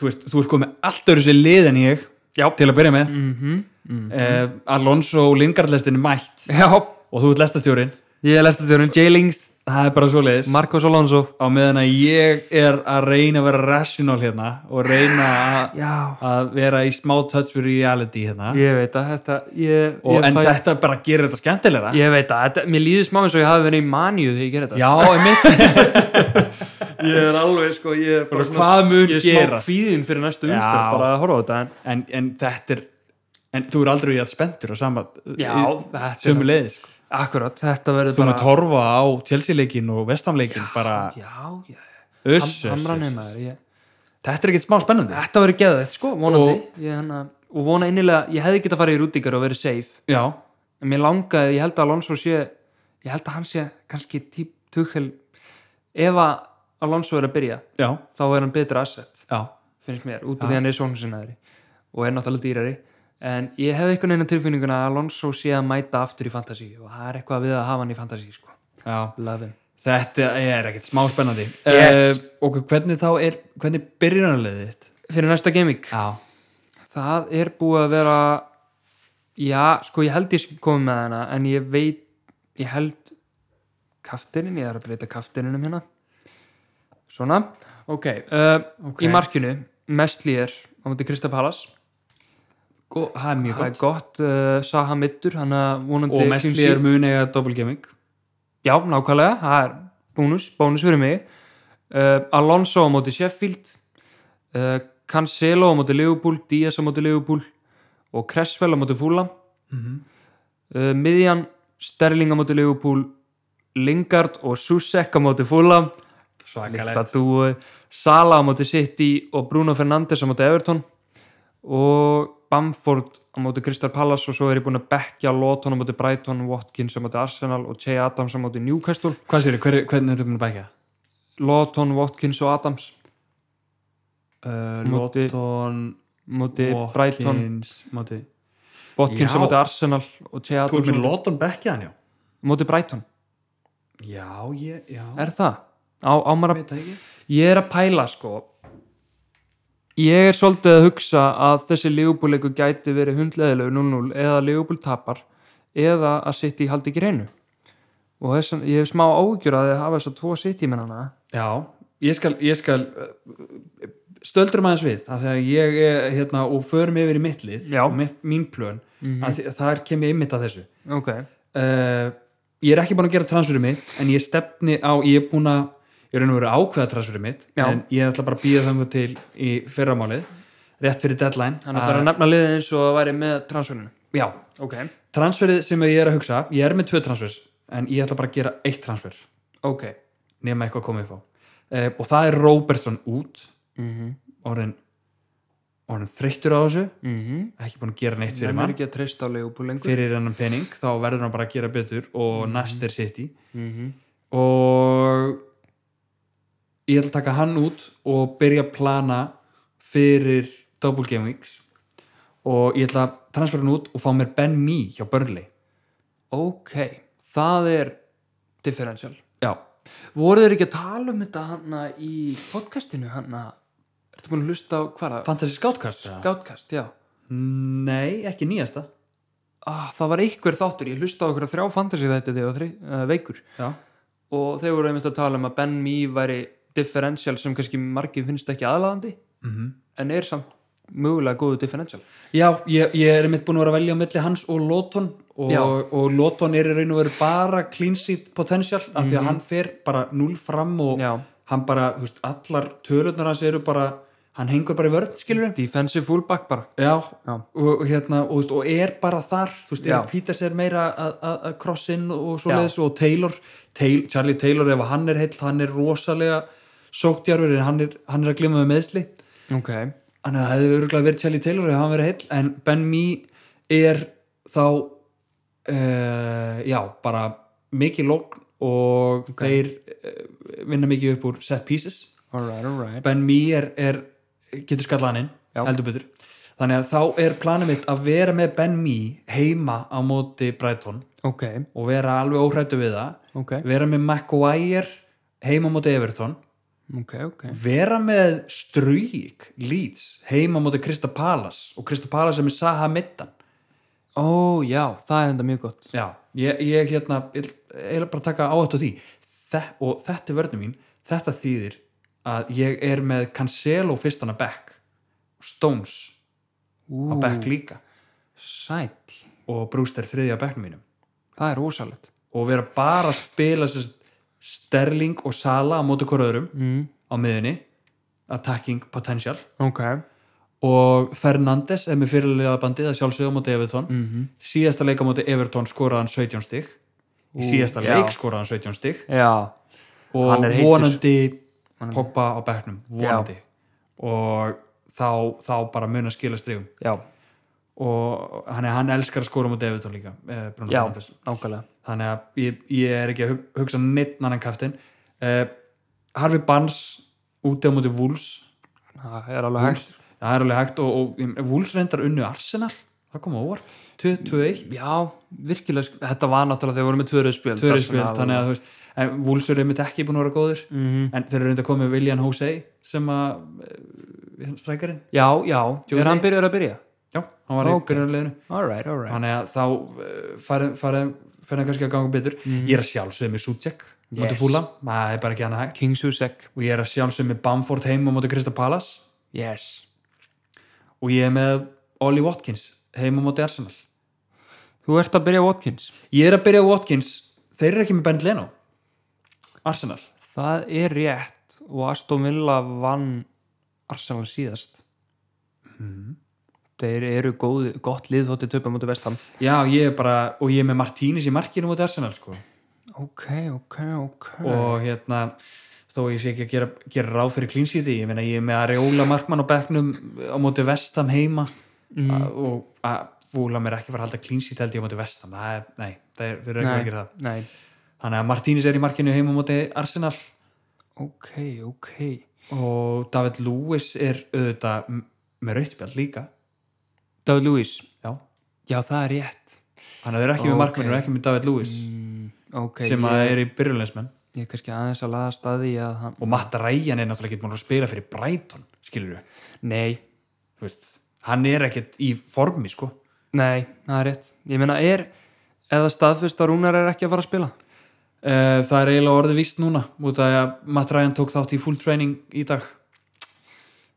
þú veist, þú ert komið allt öðru sér lið en ég Já. til að byrja með Mhm. eh, Alonso Lingardlestin er mætt já, og þú ert lestastjórin ég lest þetta um J-Lings það er bara svo leiðis Marcos Alonso á meðan að ég er að reyna að vera rational hérna og reyna að, já, að vera í smá touch with reality hérna ég veit að þetta ég, og, ég en þetta bara gerir þetta skemmtilegra Ég veit að þetta, mér líður smá eins og ég hafi verið í manju þegar ég gerði þetta. Já, einmitt Ég er alveg, sko, ég er Bara hvað mun ég er smá gerast? kvíðin fyrir næstu Já. umferð, bara að horfa á þetta. En, [LAUGHS] en, en þetta er en þú er aldrei jægt spenntur á sama já, þetta sömu leiðis sko. er akkurat, þetta verður þú bara... maður torfa á Chelsea-leikin og Vestamleikin bara Já, já, öss, öss, hamra öss. neymaður, ég... þetta er ekkert smá spennandi Þetta verður geðveitt, sko, vonandi. Og- Ég, hana, og vona innilega, ég hefði getað farið í rútingar og verið safe. já, En mér langaði, ég held að Alonso sé, ég held að hann sé kannski típ tughel. Ef að Alonso er að byrja, já, þá er hann betra asset. já finnst mér, út af því hann er sónu sinnaðri og er náttúrulega dýrari en ég hef einhvern veginn á tilfinninguna að Alonso sé að mæta aftur í fantasy og það er eitthvað við að hafa hann í fantasy sko. já, love him þetta er ekkert smá spennandi Yes. Eh, og hvernig þá er hvernig byrjunarleiðið þitt fyrir næsta gaming, já, það er búið að vera já, sko ég held ég sé komið með hana en ég veit, ég held kaftirinn, ég er að breyta kaftirinnum hérna svona, ok, uh, í markinu Mestlýr á múti Kristapalas Gó, það er mjög það er gott gott, uh, Saha mittur hann að vonandi og clean mest sheet. er mun eiga doppelgaming Já, nákvæmlega, það er bónus, bónus fyrir mig. Uh, Alonso á móti Sheffield, uh, Cancelo á móti Liverpool, Díaz á móti Liverpool og Cresswell á móti Fúlam. Mhm. uh, Midian, Sterling á móti Liverpool, Lingard og Susek á móti Fúlam. Litla svakalegt dúi, Sala á móti City og Bruno Fernandes á móti Everton og Bamford á móti Crystal Palace og svo er ég búin að bekja Lóton á móti Brighton, Watkins á móti Arsenal og Che Adams á móti Newcastle hvað sér, hver, hvernig þetta er mun að bækja? Lawton, Watkins og Adams Uh, Móti- Lóton, móti Brighton, Watkins móti Watkins Já. á móti Arsenal og Che Þú Adams erum á með móti- Lóton bekkja hann, já? móti Brighton Já, ég, já, er það? Á, á maður að, veit það ekki. ég er að pæla sko ég er svolítið að hugsa að þessi lífbúleiku gæti verið hundleðilegu 0-0 eða lífbúl tapar eða að sitt í haldi ekki reynu og þessan, ég hef smá ágjur að þið hafa þess að tvo sitt í mennana Já, ég skal, ég skal uh, stöldurum aðeins við, af því að ég er, hérna, og förum yfir í mitt lið, Já. Mhm. og mitt, mín plön, mm -hmm. þar kem ég einmitt að þessu. ok, Uh, ég er ekki búin að gera transferið mitt, en ég stefni á, ég er búin að, ég er raun og verið ákveða transferið mitt, Já. en ég ætla bara að býja þangu til í fyrramálið, rétt fyrir deadline. Uh, hann ætlar að nefna liðið eins og það væri með transferinu Já, ok, transferið sem ég er að hugsa, ég er með tvö transfers, en ég ætla bara að gera eitt transfer. ok nema eitthvað komið upp á uh, og það er Robertson út mm -hmm. orðin, orðin þreyttur á þessu Mm ekki búin að gera neitt fyrir Hann er mann ekki að treysta á Leopold lengur fyrir hennan pening, þá verður hann bara að gera betur og næst er City mm -hmm. og ég ætla að taka hann út og byrja að plana fyrir Double Game Weeks og ég ætla að transfera hann út og fá mér Ben Mee hjá Burnley Ok, það er differential já, Voru þeir ekki að tala um þetta hanna í podcastinu hanna Ertu búin að hlusta á hvaða? Fantasy Scoutkast eða? Gátkast, já nei, ekki nýjasta ah, Það var einhver þáttur, ég hlusta á okkur þrjá fantasy þetta þegar þri, uh, veikur já, og þeir voru einmitt að tala um að Ben Mee væri differential sem kannski margir finnst ekki aðlaðandi mhm en er samt mögulega góðu differential Já, ég, ég er mitt búin að vera að velja á milli hans og Lóton og, Já. og Lóton er í raun og veru bara clean seat potential af því að hann fer bara null fram og Mhm. Já. hann bara, þú veist, allar tölurnar hans eru bara, hann hengur bara í vörð skilur við? Defensive fullback bara Já, Já. Og, og hérna, og, þú veist, og er bara þar þú veist, Já. er Peters er meira að- að að cross in og svoleiðis og Taylor Taylor, Charlie Taylor, ef hann er heill, hann er rosalega sóktjarfur en hann er, hann er að glima með meðsli Ok, þannig að það hefði örgulega verið Charlie Taylor ef hann verið heill en Ben Mee er þá uh, já, bara mikið lókn og þeir uh, vinna mikið upp úr set pieces alright, alright Ben Mee er, er getur skallað hann inn, Já. heldur betur þannig að þá er planið mitt að vera með Ben Mee heima á móti Brighton Ok, og vera alveg óhrættu við það ok, vera með Maguire heima á móti Everton ok, ok vera með Struyk Leeds heima á móti Krista Palas og Krista Palas er með Saha Middan Ó, já, það er enda mjög gott já, ég, ég hérna ég er bara að taka áhættu á því Þe, og þetta er vörnum mín, þetta þýðir að ég er með Cancelo fyrstana Beck Stones Ú, á Beck líka sæll og Brewster þriðja á Becknum mínum Það er rosalegt og vera bara að spila sérst, Sterling og Sala á móti hver öðrum mm. á miðunni attacking potential Ok, og Fernandes er með fyrirlega bandið að sjálfsögja á móti Everton mm síðasta leik á móti Everton skoraði hann 17 stig í Ú, síðasta já. leik skoraði hann 17 stig já, og Hann er heitur. vonandi poppa á bekknum, vonandi og þá, þá bara mun að skila strigum já, og hann, hann elskar að skora á móti Everton líka eh, Bruno já, Fernandes nákvæmlega þannig að ég, ég er ekki að hug- hugsa neitt annan kaftin eh, Harfi Barnes úti á móti Wolves Það er alveg hægt það er alveg hægt og, og ég meina, Wolves reyndar unnu Arsenal það kom á óvart, 2-1 Já, virkilega, sk- þetta var náttúrulega þegar við vorum með tvöruðspjöld tvöriðspil, þannig að þú veist en Wolves eru einmitt ekki búin að vera góður Mhm. en þeir eru reynda að koma með William Jose sem að uh, strækarinn, Já, já, Jose- er hann byrjar að byrja? já, hann var Ok. í byrjunarleginu Alright, alright þannig að þá uh, farið fyrir það kannski að ganga betur ég er að sjálfsögðu með Sucek yes. móti Mhm. Yes. fúla, það er bara ekki annað hægt King Susek, og ég er að sjálfsögðu með Bamford heima móti Krista Palace yes og ég er með Ollie Watkins heima móti Arsenal Þú ert að byrja Watkins ég er að byrja á Watkins, þeir eru ekki með Ben Leno Arsenal Það er rétt og Aston Villa vann Arsenal síðast Mhm. Þeir eru góð, gott lið þóttið töpum út af vestam já, ég er bara, og ég er með Martínez í markinu móti Arsenal sko Ok, ok, ok og hérna þó ég sé ekki að gera, gera ráð fyrir klínsíti ég meina ég er með Areola Markmann á bekknum á móti vestam heima Mhm. mm. og að fúla mér ekki fara að halda klínsíti held ég á móti vestam það er, nei, það er, þeir eru ekki að gera það Nei, þannig að Martínis er í markinu heima á móti Arsenal ok, ok og David Lewis er auðvitað m- með rautspjald líka David Lewis, já, já það er rétt þannig að þeir eru ekki Ok. með Markmann og ekki með David Lewis mm, Ok, sem að ég, er í byrjulegsmenn ég er kannski aðeins að laða staði að hann og Matt Ryan er náttúrulega ekki búin að spila fyrir Brighton skilur Nei, þú veist hann er ekkert í formi sko nei, það er rétt Ég meina er, eða staðfist að Rúnar er ekki að fara að spila Uh, það er eiginlega orðið víst núna út af að Matt Ryan tók þátt í full training í dag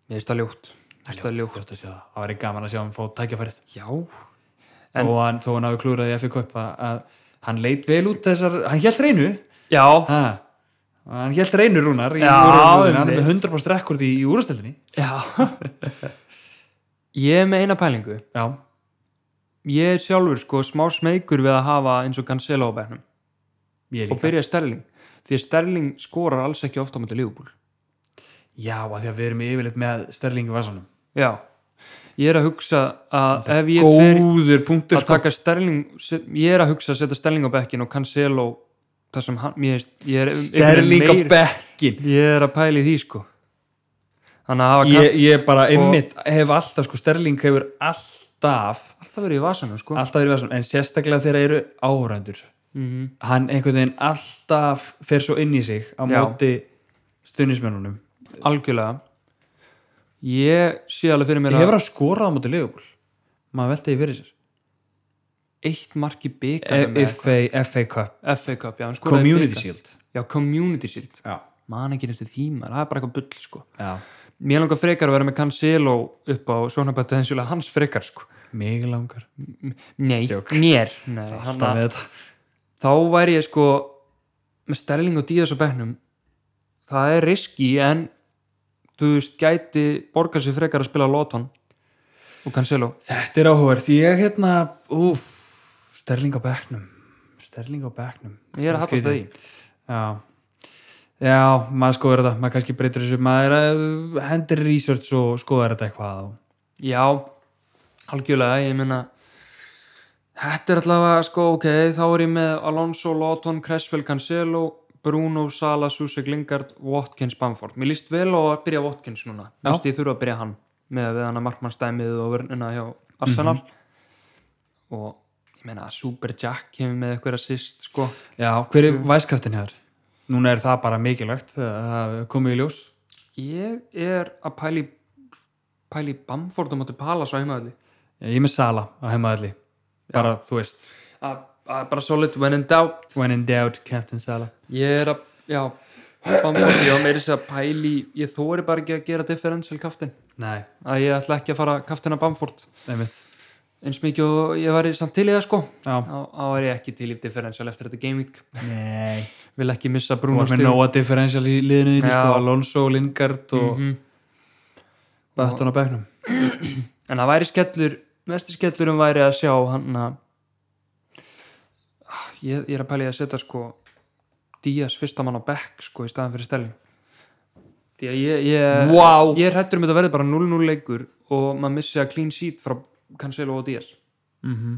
Mér finnst það ljótt Mér finnst það ljótt Ljótt að sjá það Það væri gaman að sjá hann fá tækjafærið Já, en... þó hann, þó hann hafi klúrað í FA Cup að, að hann leit vel út þessar hann hjælt reynu já, ha, hann hjælt reynu rúnar í Já, úrvalsdeildinni. hann er einmitt. með 100% rekord í, í úrstældinni Já [LAUGHS] Ég er með eina pælingu já, Ég er sjálfur sko smá smeykur við að hafa eins og Cancelo á bæknum ég og líka byrja Sterling því að Sterling skorar alls ekki ofta á mútið Liverpool já, að því að við erum yfirleitt með Sterling í vasanum Já Ég er að hugsa að ef ég fer góður punktur að sko. taka Sterling set- ég er að hugsa að setja Sterling á bækin og Cancelo þar sem hann ég, ég um er, Sterling á meir, bekkin Ég er að pæli því sko Þannig að hafa ég, ég bara einmitt hef alltaf sko Sterling hefur alltaf kann alltaf verið í vasanum sko alltaf verið vassum, en sérstaklega þegar eru áhöröndur Mhm. hann einhvern veginn alltaf fer svo inn í sig á Já. móti stundismennunum Algjörlega Ég sé alveg fyrir mér að hefur hann skorað á móti Leopold maður velti því fyrir sér eitt mark í byggarnum E- FA, FA Cup, FA Cup, já, sko, hann skoraði í Community bikarnum. Shield Já, Community Shield, já, man ekki eftir því maður, það er bara eitthvað bull, sko já. Mér langar frekar að vera með Cancelo upp á svona bara potentiálega hans frekar, sko mig langar Nei, Joke. mér Nei, alltaf hana, með þetta Þá væri ég sko með Sterling og Díaz á bekknum það er riski, en þú veist, gæti borga sig frekar að spila Lóton og Cancelo þetta er áhugverð, ég hérna úf, Sterling á bekknum Sterling á bekknum Ég er að hallast að því já Já, maður skoður þetta, maður kannski breytir þessu, maður eh, hendir research og skoður þetta eitthvað og... Já, algjörlega, ég meina Þetta er allavega, sko, ok, þá er ég með Alonso, Lawton, Cresswell, Cancelo, Bruno, Sala, Susek, Lingard, Watkins, Bamford. Mér líst vel á að byrja Watkins núna. Já. Mér líst ég þurfa að byrja hann með að við hann að markmannstæmið og vörnina hjá Arsenal. Og ég meina, Super Jack kemur með eitthvað assist, sko. Já, hver er væskaftin hér? Núna er það bara mikilvægt, eh, það er komið í ljós. Ég er að pæli, pæli Bamford á móti Palace á heimaðli. Ég er með Sala á heimaðalli, bara, þú veist, Að að bara solid when in doubt. when in doubt, Captain Sala. Ég er að, já Bamford, ég var meira þess að pæli ég þóri bara ekki að gera differential kaftin Nei, að ég ætla ekki að fara kaftina Bamford einmitt, eins mikið og ég væri samt til í það sko já. þá þá er ég ekki til í differential eftir þetta game week Nei. vil ekki missa Þú Bruno var með nóa differential í liðinu þínu, Já. sko, Alonso, Lingard og mm Mhm. Bötton á bekknum. en það væri skellur, mestir skellurum væri að sjá hann að Ah, ég, ég er að pæli að setja sko Díaz fyrsta mann á bekk sko í staðan fyrir stelling því að ég, ég Vá! ég er hættur um þetta verði bara 0-0 leikur og maður missi að clean sheet frá Cancelo og Díaz Mhm.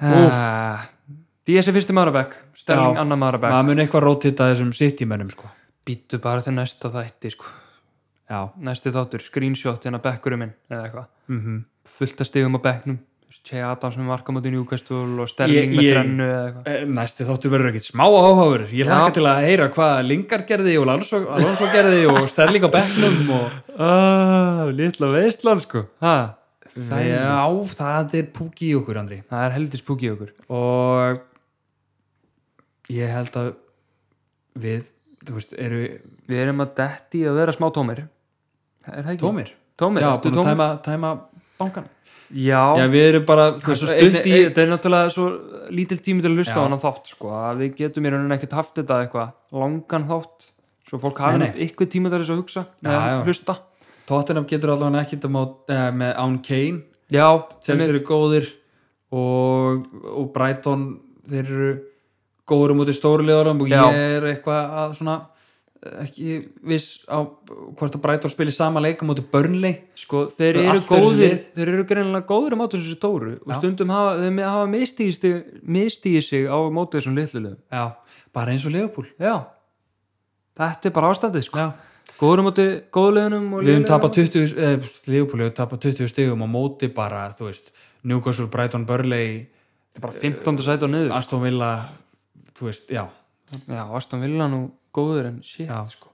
uh, Díaz er fyrsti maðurabæk Sterling Já. annar maðurabæk Maður mun eitthvað rótita þessum sittimönnum, sko. býttu bara til næsta þætti sko. Já. næsti þáttur, screenshot hérna bekkurum minn eða eitthvað, Mm fullt að stigum á bekknum Che Adams með markamóti Newcastle og Sterling Ég- með ég- þrennu eða eitthvað Eh, Næsti þáttu verður ekkert smá áháfur. Ég Já. hlakka til að heyra hvað Lingard gerði og Alonso, Alonso gerði og Sterling á bekknum og... [LAUGHS] Ah, litla veistlan sko ha, Já. Já, það er púki í okkur, Andri. Það er heldur spúkið okkur Og ég held að við, þú veist, eru Við erum að detti að vera smá tómir Er það ekki? tómir. Tómir, Já, ertu búin að tómur? tæma, tæma bankan. Já, Já, við erum bara... það er svo stutt í, þetta er náttúrulega svo lítil tími til að hlusta Já. á hann þátt sko, að við getum í rauninni ekkert haft þetta eitthvað langan þátt, svo fólk Nei, hafi nei. nátt ykkur tími til þess að hugsa Já, eða já. hlusta. Tottenham getur allavega ekkert um á, eh, með án Kane Já, Chelsea einmitt. eru góðir og, og Brighton þeir eru góður um út í stórulegarum og Já. ég er eitthvað að svona eh, ekki viss á hvort að Brighton spilir sama leik um út í Burnley sko, þeir Allt eru eru góðir lið. þeir eru greinilega góðir á móti þessu stóru og Já. stundum hafa, þeir með- hafa mistýið sig- mistýið sig á móti þessum litlulegum. Já, bara eins og Liverpool Já, þetta er bara ástandið sko. Já. Góður á móti góðlegunum og Við höfum lélegum á tapað móti- 20, eh, Liverpool hefur tapað 20 stigum á móti bara, þú veist, Newcastle, Brighton, Burnley Þetta er bara 15. sæti og niður. Aston Villa, þú veist, já Já, Aston Villa nú góður en shit Já. sko.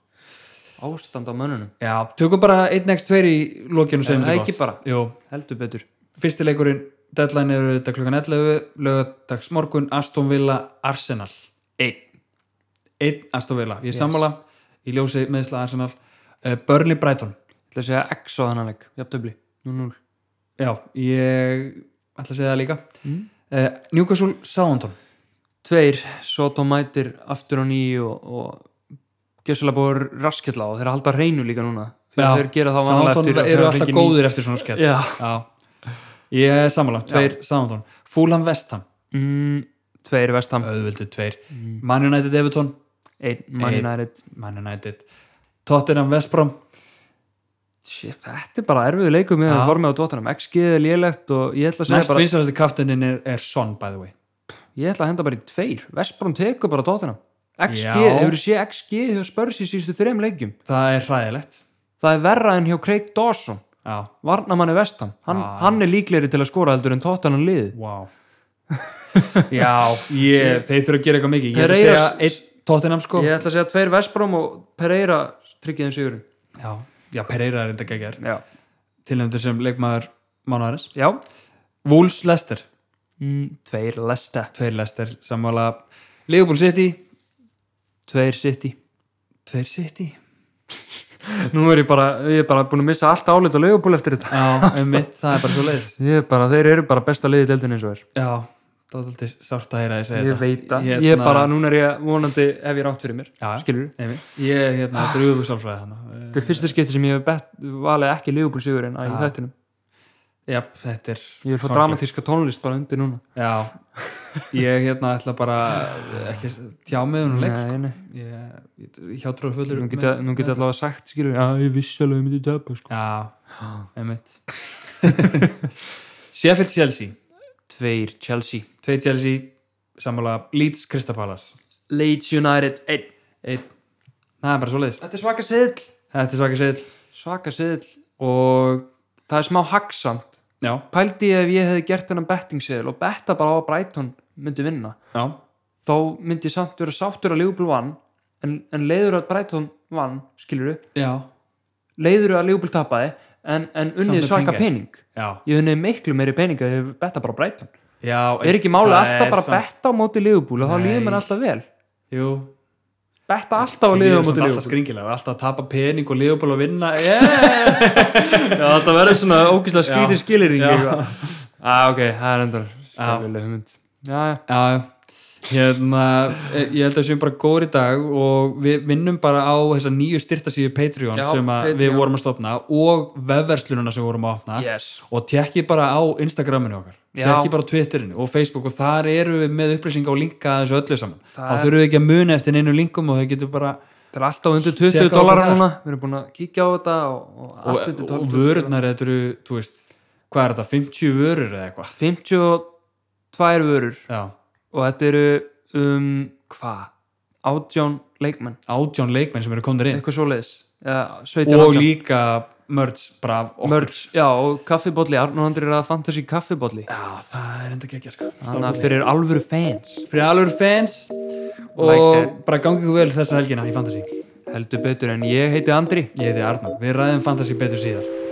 Ástand á mönnunum Já, tökum bara 1x2 í lokinu sem Það er ekki bara, Jú, heldur betur fyrsti leikurinn deadline eru þetta klukkan 11 lögadags morgun Aston Villa Arsenal Einn einn Aston Villa, ég yes. sammála í ljósi meðsla Arsenal uh, Burnley Brighton, Það segja X á þannan leik, jafntöfli 0-0 já, ég ætla að segja það líka mm. Mm. Newcastle Southampton Tveir, Soto mætir aftur á nýju og, og gjössalega búið að raskella á þeir að halda hreinu líka núna þegar Já, þeir gera það vanlega Southampton eftir að þeir eru hafa alltaf fengið góðir eftir svona ný- skell Já, ég er sammála, tveir Southampton Fulham Vestham, mm, tveir vestam auðvöldu tveir Mm. Man United Everton, Einn, Man Eh, Einn. United Man United Tottenham West Brom Shit, Þetta er bara erfiðu leikum með Já. að formið á dóttanum XG er lélegt og ég ætla að segja næst bara vinsalasti kaftininn er, er Son by the way Ég ætla að henda bara í tveir Vestbrón tekur bara dóttina XG, Já. hefur sé XG hefur spörs í síðustu þreim leikjum það er hræðilegt Það er verra en hjá Craig Dawson Já, Varnamanni vestam Hann, Já. hann er líklegri til að skora heldur en tóttan hann liði wow. [LAUGHS] Já, ég, þeir þurfa að gera eitthvað mikið Ég ætla að segja Pereira- einn Tottenham sko Ég ætla að segja tveir Vestbrón og Pereira tryggiðin sigurinn Já, já Pereira er þetta geggjær Já, Tilnæmdur sem leikmaður mánuðarins Já. Wolves Lester, Mm, Tveir Lesta tveir Lester sammála Liverpool City Tveir City Tveir City Nú er ég bara, ég er bara búin að missa allt álið á leigubúl eftir þetta [LAUGHS] Já, um mitt, það er bara svo leiðis Ég er bara, þeir eru bara besta liðið deildin eins og er Já, það er alltaf sárt að heyra að ég segja Ég þetta veit það, ég er Hérna- bara, núna er ég vonandi ef ég er átt fyrir mér, Já. skilur Nei, Ég, hérna, þetta er auðvöksálfræði hana Þetta er fyrsta skipti sem ég hef bett, valið ekki Liverpool sigurinn að í Já. þættinum Já, þetta er Ég vil fá sorglegt. dramatíska tónlist bara undir núna. Já, ég hérna ætla bara ekki að tjá mig um leik sko. Nei, nei. ég, ég hjátrúðu fullur Nú geti, nú geti allavega sagt, skilur, já, ég vissi alveg að ég myndi döpa, sko. Já, einmitt [LAUGHS] Sheffield Chelsea Tveir, Chelsea. Tveit Chelsea, sammála Leeds Kristapalas Leeds United, einn. Einn, það er bara svo leiðis Þetta er svaka seðil. Þetta er svaka seðil Svaka seðil. og Það er smá hagsamt. já, Pældi ég ef ég hefði gert þennan betting seðil og betta bara á að Brighton myndi vinna. já, Þá myndi ég samt vera sáttur að Liverpool vann, en, en leiður að Brighton vann, skilur já, leiður að Liverpool tapaði, en, en Samt unnið með svaka peninga. pening. já, Ég unnið miklu meiri pening að ég betta bara á Brighton. já er ekki málið það alltaf er bara að samt- betta á móti Liverpool og þá Nei. líður mér alltaf vel Jú, betta alltaf á það liðum líður á móti samt alltaf Liverpool skringilega alltaf að tapa pening og liðuból að vinna yeah! [LAUGHS] Já, það verður svona ógíslega skrýtin skilir Já. [LAUGHS] Já, Ah, ok, það er endur skæfileg hugmynd Já, já, Já, hérna, eh, ég held að við séum bara góður í dag og við vinnum bara á þessa nýju styrtasíðu Patreon Já, sem að við Patreon. vorum að stopna og vefverslununa sem við vorum að opna yes og tekki bara á Instagraminu okkar, Já. tekki bara á Twitterinu og Facebook og þar eru við með upplýsinga og linka að þessu öllu saman. Það Þá er- þurfum við ekki að muna eftir einu linkum og þau getur bara Það er alltaf undir 20 Tékka á dólarar það. núna Við erum búin að kíkja á þetta og, og og, allt undir 12 og vörurnar þetta eru, þú veist, hvað er þetta, 50 vörur eða eitthvað? 52 vörur Já, og þetta eru um, hvað? 18 leikmenn, átján leikmenn sem eru komnir inn eitthvað svoleiðis ja, 17 og 18 líka merch bara af okkur. Mörg, já, og kaffibólli, Arnur Andri er að fantasy kaffibólli Já, það er enda gekkja sko. Þannig að fyrir alvöru fans fyrir alveg fans og Like it. bara gangi ykkur vel þessa helgina í Fantasy heldur betur en ég heiti Andri ég heiti Arnar, við ræðum Fantasy betur síðar